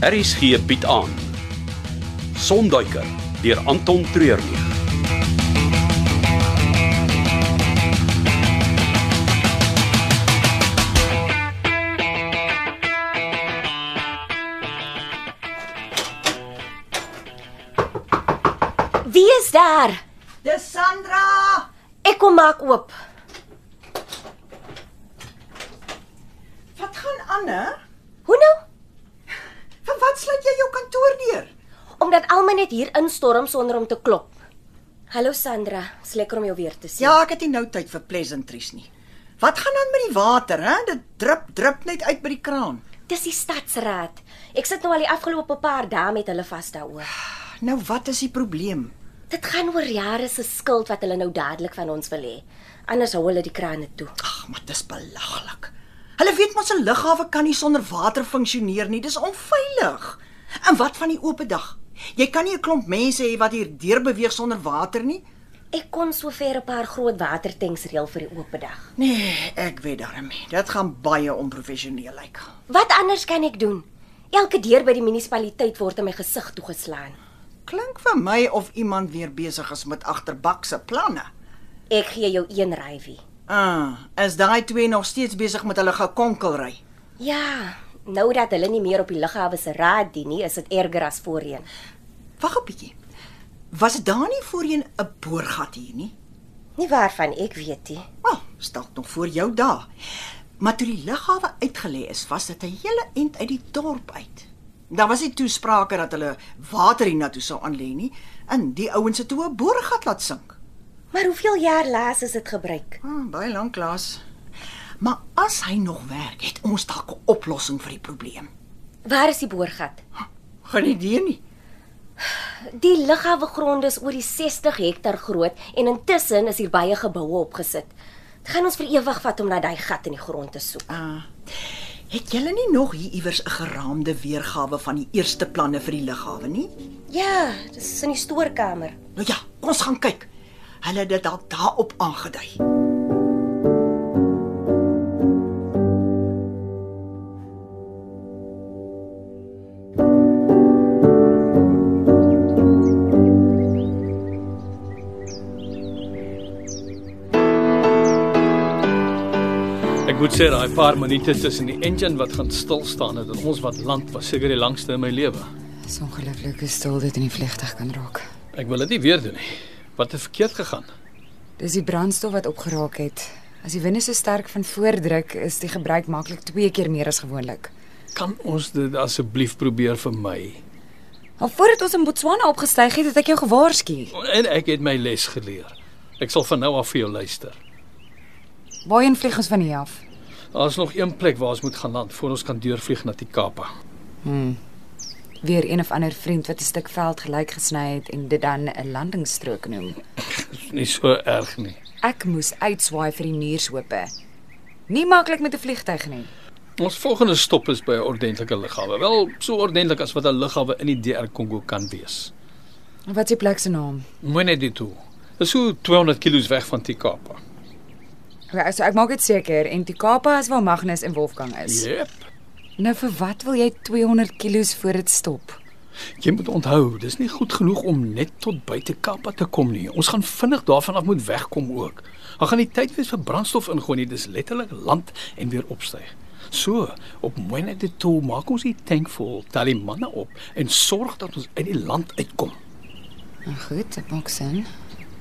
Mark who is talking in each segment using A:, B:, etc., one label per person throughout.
A: Harris gee bied aan. Sonduiker deur Anton Treurnig.
B: Wie is daar?
C: Dis Sandra.
B: Ek kom maak oop.
C: Wat gaan aan, hè?
B: Hoe nou?
C: Vir wat sluit jy jou kantoor deur?
B: Omdat almal net hier instorm sonder om te klop. Hallo Sandra, is lekker om jou weer te sien.
C: Ja, ek het nie nou tyd vir pleasantries nie. Wat gaan aan met die water, hè? Dit drup drup net uit by die kraan.
B: Dis die stadsraad. Ek sit nou al die afgelope paar dae met hulle vas daaroor.
C: Nou wat is die probleem?
B: Dit gaan oor jare se skuld wat hulle nou dadelik van ons wil hê. Anders hou hulle die krane toe.
C: Ag, maar dis belaglik. Hulle weet mos 'n lughawe kan nie sonder water funksioneer nie. Dis onveilig. En wat van die oop dag? Jy kan nie 'n klomp mense hê wat hier deur beweeg sonder water nie.
B: Ek kon sover 'n paar groot watertanks reël vir die oop dag.
C: Nee, ek weet daarmee. Dit gaan baie onprofessioneel lyk.
B: Wat anders kan ek doen? Elke deur by die munisipaliteit word in my gesig toegeslaan.
C: Klink vir my of iemand weer besig is met agterbakse planne.
B: Ek gee jou een rywie.
C: Ah, is daai twee nog steeds besig met hulle gekonkelry?
B: Ja, nou dat hulle nie meer op die lughawe se raad dien nie, is dit erger as voorheen.
C: Wag 'n bietjie. Was daar nie voorheen 'n boorgat hier nie?
B: Nie waarvan ek weet nie.
C: Wel, oh, stel nog voor jou daar. Maar toe die lughawe uitgelê is, was dit 'n hele end uit die dorp uit. Daar was nie toesprake dat hulle water hiernatoe sou aanlê nie, en die ouens het toe 'n boorgat laat sink.
B: Maar hoeveel jaar laas is dit gebruik?
C: Hmm, baie lank klaas. Maar as hy nog werk, het ons dalk 'n oplossing vir die probleem.
B: Waar is die boorgat?
C: Geen idee nie.
B: Die lughawe grond is oor die 60 hektar groot en intussen is hier baie geboue opgesit. Dit gaan ons vir ewig vat om na daai gat in die grond te soek.
C: Ah. Het julle nie nog hier iewers 'n geraamde weergawe van die eerste planne vir die lughawe nie?
B: Ja, dis in die stoorkamer.
C: Nou ja, kom ons gaan kyk. Hulle het dit dalk daarop aangedui.
D: Ek moet sê daai paar minute tussen die engine wat gaan stil staan het en ons wat land was seker die langste in my lewe.
E: Dis ongelooflik hoe stil dit in die vliegtuig kan raak.
D: Ek wil dit nie weer doen nie. Wat het verkeerd gegaan?
E: Dis die brandstof wat opgeraak het. As die winde so sterk van voordruk is die gebruik maklik 2 keer meer as gewoonlik.
D: Kan ons dit asseblief probeer vermy?
E: Al voordat ons in Botswana opgestyg het, het ek jou gewaarsku.
D: En ek het my les geleer. Ek sal van nou af vir jou luister.
E: Waarheen vlieg ons van hier af?
D: Daar's nog een plek waar ons moet gaan land voor ons kan deurvlieg na die Kaap.
E: Weer een of ander vriend wat 'n stuk veld gelyk gesny het en dit dan 'n landingsstrook noem.
D: Dis nie so erg nie.
E: Ek moes uitswaai vir die muurshope. Nie maklik met 'n vliegtyg nie.
D: Ons volgende stop is by 'n ordentlike lughawe. Wel, so ordentlik as wat 'n lughawe in die DR Kongo kan wees.
E: Wat is die plek se naam?
D: Moenie dit toe. Dis so 200 km weg van die Kaap.
E: Okay, so ek maak dit seker en Tikapa is waar Magnus en Wolfgang is.
D: Jep.
E: Nou vir wat wil jy 200 kilos voor dit stop?
D: Jy moet onthou, dis nie goed genoeg om net tot buite Kappa te kom nie. Ons gaan vinnig daarvan af moet wegkom ook. Daar gaan nie tyd wees vir brandstof ingooi nie. Dis letterlik land en weer opstyg. So, op Moenet de Tol maak ons die tank vol, tel die manne op en sorg dat ons uit die land uitkom.
E: Nou goed, dit maak sin.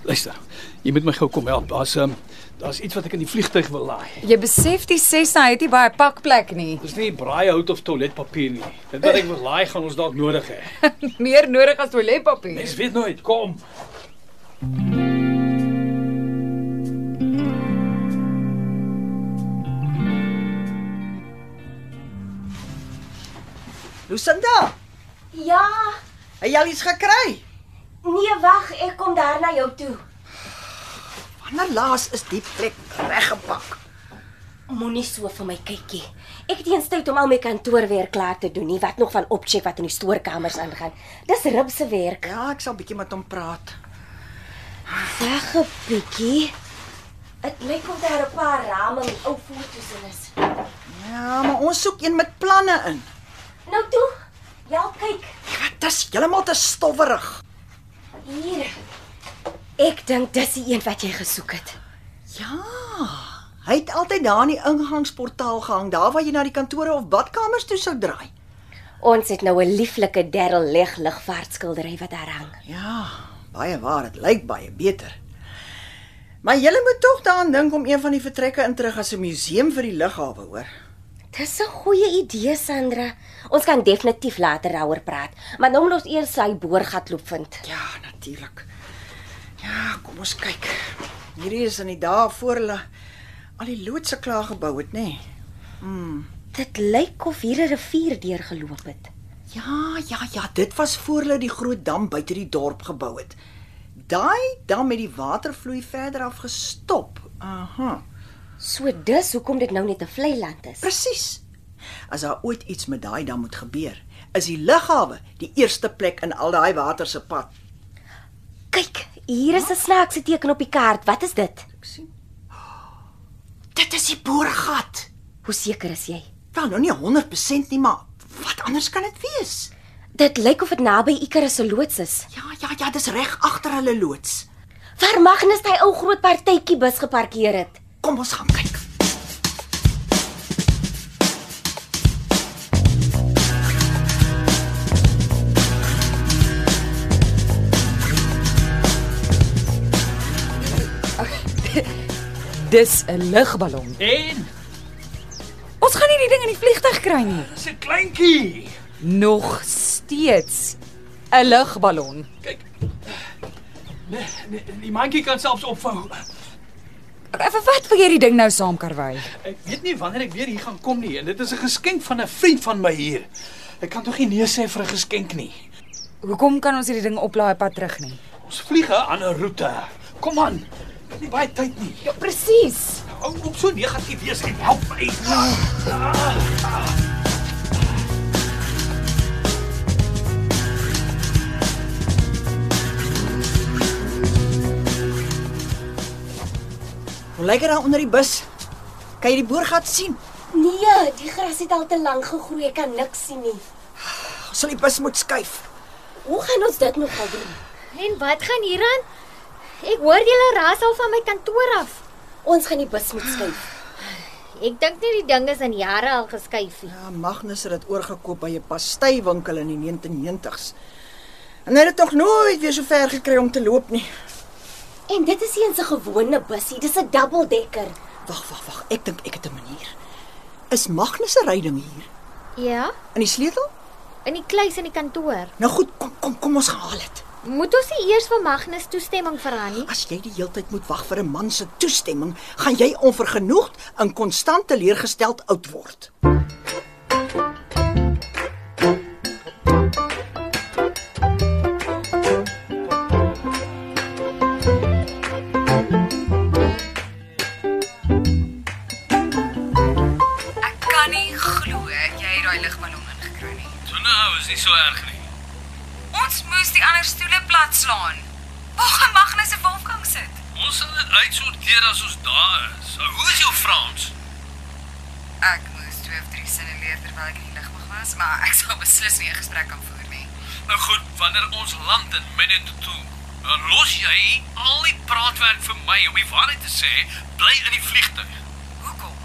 D: Luister, jy moet my gou kom help. Daar's um, daar's iets wat ek in die vliegtyg wil laai.
E: Jy besef die Cessna het nie baie pakplek nie.
D: Dis nie braaihout of toiletpapier nie. Dit wat ek wil laai gaan ons dalk nodig hê.
E: Meer nodig as toiletpapier.
D: Mens weet nooit. Kom.
C: Lucinda,
B: Ja,
C: het jy al iets gekry?
B: nee wag, ek kom daar na jou toe.
C: Wanneer laas is die plek reggepak?
B: Moenie so vir my kykie. Ek het eens tyd om al my kantoorwerk klaar te doen, nie wat nog van opcheck wat in die stoorkamers aangaan. Dis ribse werk.
C: Ja, ek sal bietjie met hom praat.
B: Wag 'n bietjie. Dit lyk of daar 'n paar rame met ou foto's in is.
C: Ja, maar ons soek een met planne in.
B: Nou toe, Ja, kyk.
C: Dit is heeltemal te stowwerig.
B: Hier. Ek dink dis die een wat jy gesoek het.
C: Ja. Hy het altyd daar in die ingangsportaal gehang, daar waar jy na die kantore of badkamers toe sou draai.
B: Ons het nou 'n lieflike Darryl leg ligvaartskildery wat daar hang.
C: Ja, baie waar, dit lyk baie beter. Maar jy moet tog daaraan dink om een van die vertrekke in terug as 'n museum vir die lughawe, hoor.
B: Dis 'n goeie idee, Sandra. Ons kan definitief later daaroor praat, maar nou moet ons eers sy boorgatloop vind.
C: Ja, natuurlik. Ja, kom ons kyk. Hierdie is in die dae voor hulle al die loodse klaar gebou het, nê? Nee.
B: Dit lyk of hier 'n rivier deurgeloop het.
C: Ja, ja, ja, dit was voor hulle die groot dam buite die dorp gebou het. Daai dam met die watervloei verder af gestop. Aha.
B: So dis hoekom dit nou net 'n vlei land is.
C: Presies. As daar ooit iets met daai dam moet gebeur, is die lughawe die eerste plek in al daai water se pad.
B: Kyk, hier is 'n snaakse teken op die kaart. Wat is dit?
C: Ek sien. Dit is die boorgat.
B: Hoe seker is jy?
C: Wel, nou nie 100% nie, maar wat anders kan dit wees?
B: Dit lyk of dit naby Icarus se loods is.
C: Ja, ja, ja, dis reg agter hulle loods.
B: Waar Magnus hy ou groot partytjie bus geparkeer het.
C: Kom ons gaan kyk.
E: Dis 'n lugballon.
D: En
E: Ons gaan nie die ding in die vliegtuig kry nie.
D: dis 'n kleintjie.
E: Nog steeds 'n lugballon.
D: Kyk. Nee, nee, die mandjie kan selfs opvou.
E: Okay, vir wat wil jy die ding nou saamkarwei?
D: Ek weet nie wanneer ek weer hier gaan kom nie en dit is 'n geskenk van 'n vriend van my hier. Ek kan tog nie nee sê vir 'n geskenk nie.
E: Hoekom kan ons hierdie ding oplaai pad terug nie?
D: Ons vlieg 'n ander roete. Kom aan. Dit is nie baie tyd nie.
E: Ja, presies.
D: Hou op so negatief wees en help my.
C: Hoe lyk dit daar onder die bus? Kan jy die boorgat sien?
B: Nee, die gras het al te lank gegroei, ek kan niks sien nie.
C: Ons sal die bus moet skuif.
B: Hoe gaan ons dit nog doen?
F: En wat gaan hier aan? Ek hoor julle ras al van my kantoor af.
B: Ons gaan die bus moet skuif.
F: Ek dink nie die ding is in jare al geskuif nie.
C: Ja, Magnus het dit oorgekoop by 'n pastywinkel in die 1990s. En hy het dit nog nooit weer so ver gekry om te loop nie.
B: En dit is nie eens 'n gewone busie, dis 'n dubbeldekker.
C: Wag, wag, wag. Ek dink ek het 'n manier. Is Magnus se ryding hier?
F: Ja,
C: In die sleutel?
F: in die kluis in die kantoor.
C: Nou goed, kom kom kom ons gaan haal dit.
F: Moet ons nie eers vir Magnus toestemming vra nie?
C: As jy die heeltyd moet wag vir 'n man se toestemming, gaan jy onvergenoegd en konstant teleurgesteld oud word.
E: Ek kan nie glo jy het daai lugballon ingekry nie.
G: So nou is nie so erg nie.
E: Ons moes die ander stoele plat slaan. Waar gaan Magnus se Wolfgang sit?
G: Ons sal dit uitsorteer as ons daar is. So, hoe is jou Frans?
E: Ek moes twee of drie sinne leer terwyl ek in die lugmag was, maar ek sal beslis nie 'n gesprek kan voer nie.
G: Nou goed, wanneer ons land in Minnetonto, dan los jy al die praatwerk vir my om die waarheid te sê, bly in die vliegtuig.
E: Hoekom?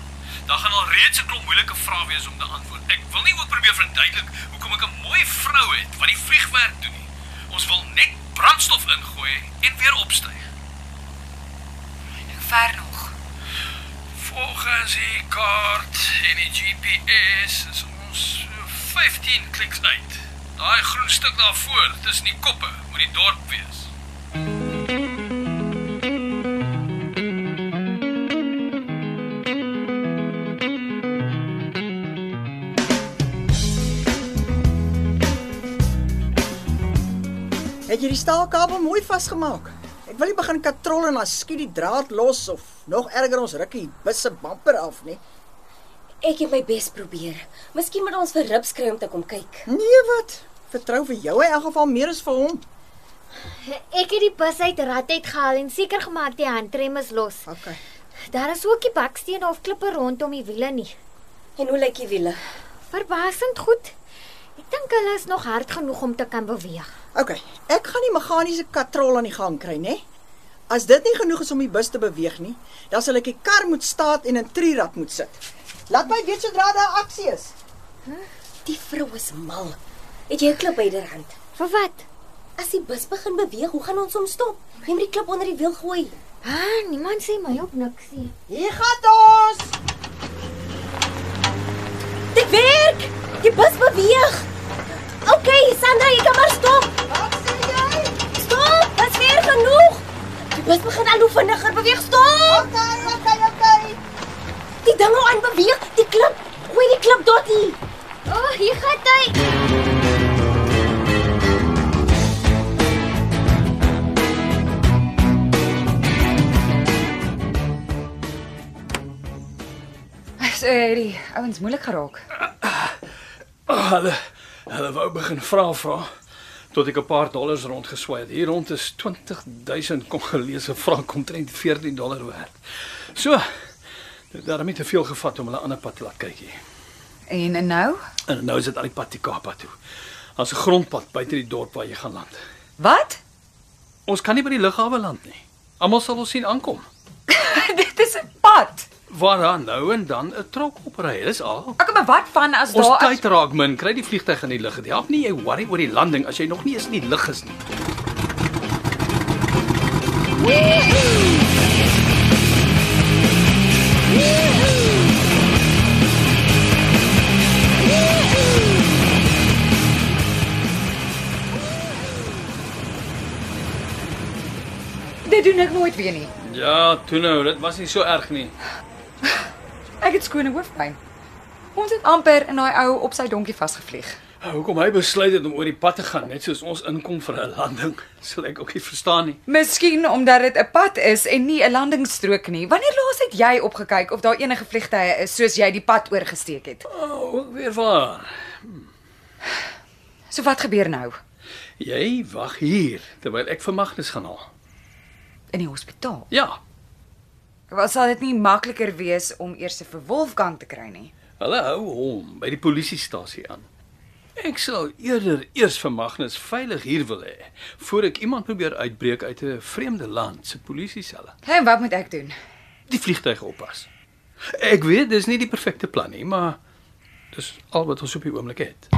G: Daar gaan al reeds 'n klomp moeilike vrae wees om te antwoord. Ek wil nie ook probeer verduidelik hoekom ek 'n mooi vrou het wat die vliegwerk doen nie. Ons wil net brandstof ingooi en weer opstyg.
E: Hoe ver nog?
G: Volgens die kaart en die GPS is ons so 15 kliks uit. Daai groen stuk daarvoor, tussen die koppe, moet die dorp wees.
C: Het jy die staalkabel mooi vasgemaak? Ek wil nie begin katrol en dan skiet die draad los of nog erger ons rukkie die bus se bumper af nee. nie.
B: Ek het my bes probeer. Miskien moet ons vir Rips kry om te kom kyk.
C: Nee wat? Vertrou vir jou in elk geval meer as vir hom.
F: Ek het die bus uit Radheid gehaal en seker gemaak die handrem is los.
C: Okay.
F: Daar is ook nie bakstene of klippe rondom die wiele nie.
B: En hoe lyk die wiele?
F: Verbasend goed. Ek dink hulle is nog hard genoeg om te kan beweeg.
C: OK, ek gaan die meganiese katrol aan die gang kry, né? As dit nie genoeg is om die bus te beweeg nie, dan sal ek die kar moet staat en in trierad moet sit. Laat my weet sodra daar aksie is.
B: Die vrou is mal. Het jy 'n klip byderhand?
F: Vir wat?
B: As die bus begin beweeg, hoe gaan ons hom stop? Jy moet die klip onder die wiel gooi.
F: Ah, niemand sê my op niks nie.
C: Hier gaan ons.
B: Dit werk! Die bus beweeg. OK, Sandra, jy kan maar stop.
C: Wat sê jy?
B: Stop, dit is weer genoeg. Die bus begin al hoe vinniger beweeg. Stop.
C: OK, OK, OK.
B: Die ding hou aan beweeg. Die klip, hoe die klip dotty.
F: O, oh, hier gaan hy.
E: So eh, hierdie ouens moeilik geraak.
D: Ah, Hulle hulle wou begin vra vra tot ek 'n paar dollars rondgeswaai het. Hier rond is 20000 Kongolese frank omtrent 14 dollar werd. So dit het daarmee te veel gevat om hulle ander pad te laat kykie.
E: En, en nou?
D: En nou is dit al die pad te Kaapstad toe. As 'n grondpad buite die dorp waar jy gaan land.
E: Wat?
D: Ons kan nie by die lughawe land nie. Almal sal ons sien aankom.
E: Dit is 'n pad.
D: Waaraan nou en dan 'n trok opry, dis al.
E: Ek maar wat van as
D: Ons
E: daar
D: tyd raak min, kry die vliegtyg in die lug. Dit help nie jy worry oor die landing as jy nog nie eens in die lug is nie.
E: dit doen ek nooit weer nie.
D: Ja, toe nou, dit was nie so erg nie.
E: Ek het skone hoofpyn. Ons het amper in daai ou op sy donkie vasgevlieg.
D: Hoekom hy besluit het om oor die pad te gaan, net soos ons inkom vir 'n landing, sal ek ook nie verstaan nie.
E: Miskien omdat dit 'n pad is en nie 'n landingsstrook nie. Wanneer laas het jy opgekyk of daar enige vliegtye is soos jy die pad oorgesteek het?
D: Oh, ook weer waar.
E: So wat gebeur nou?
D: Jy wag hier terwyl ek vir Magnus gaan haal.
E: In die hospitaal.
D: Ja,
E: Was sal dit nie makliker wees om eers vir Wolfgang te kry nie?
D: hulle hou hom by die polisiestasie aan. Ek sal eerder eers vir Magnus veilig hier wil hê voor ek iemand probeer uitbreek uit 'n vreemde land se polisieselle.
E: En wat moet ek doen?
D: Die vliegtyg oppas. Ek weet dis nie die perfekte plan nie, maar dis al wat ons op die oomblik het.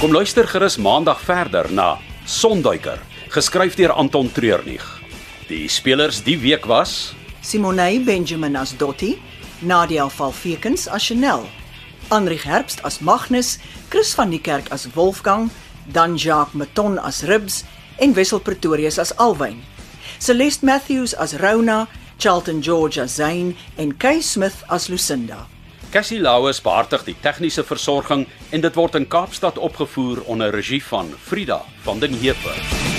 A: Kom luister gerus maandag verder na Sonduiker, geskryf deur Anton Treurnig. Die spelers die week was
C: Simonei Benjamin as Dotty, Nadia Valfekens as Chanel, Anrich Herbst as Magnus, Chris van die Kerk as Wolfgang, dan Jacques Maton as Ribs en Wessel Pretorius as Alwyn. Celeste Matthews as Rona, Charlton George as Zane en Kay Smith as Lucinda.
A: Cassie Lauers behartig die tegniese versorging en dit word in Kaapstad opgevoer onder regie van Frida van den Heever.